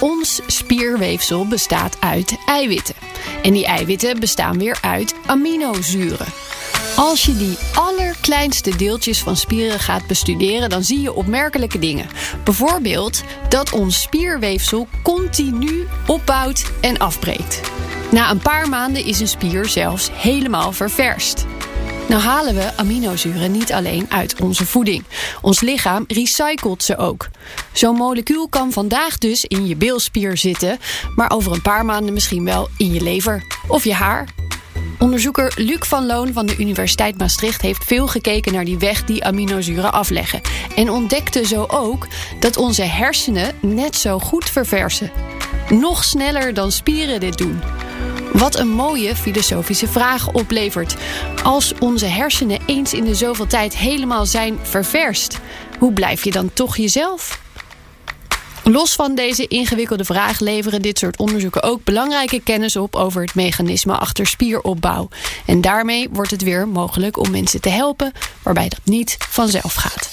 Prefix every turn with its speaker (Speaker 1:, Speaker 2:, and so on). Speaker 1: Ons spierweefsel bestaat uit eiwitten. En die eiwitten bestaan weer uit aminozuren. Als je die allerkleinste deeltjes van spieren gaat bestuderen, dan zie je opmerkelijke dingen. Bijvoorbeeld dat ons spierweefsel continu opbouwt en afbreekt. Na een paar maanden is een spier zelfs helemaal ververst. Nou halen we aminozuren niet alleen uit onze voeding. Ons lichaam recycelt ze ook. Zo'n molecuul kan vandaag dus in je bilspier zitten, maar over een paar maanden misschien wel in je lever of je haar. Onderzoeker Luc van Loon van de Universiteit Maastricht heeft veel gekeken naar die weg die aminozuren afleggen. En ontdekte zo ook dat onze hersenen net zo goed verversen. Nog sneller dan spieren dit doen. Wat een mooie filosofische vraag oplevert. Als onze hersenen eens in de zoveel tijd helemaal zijn ververst, hoe blijf je dan toch jezelf? Los van deze ingewikkelde vraag leveren dit soort onderzoeken ook belangrijke kennis op over het mechanisme achter spieropbouw. En daarmee wordt het weer mogelijk om mensen te helpen waarbij dat niet vanzelf gaat.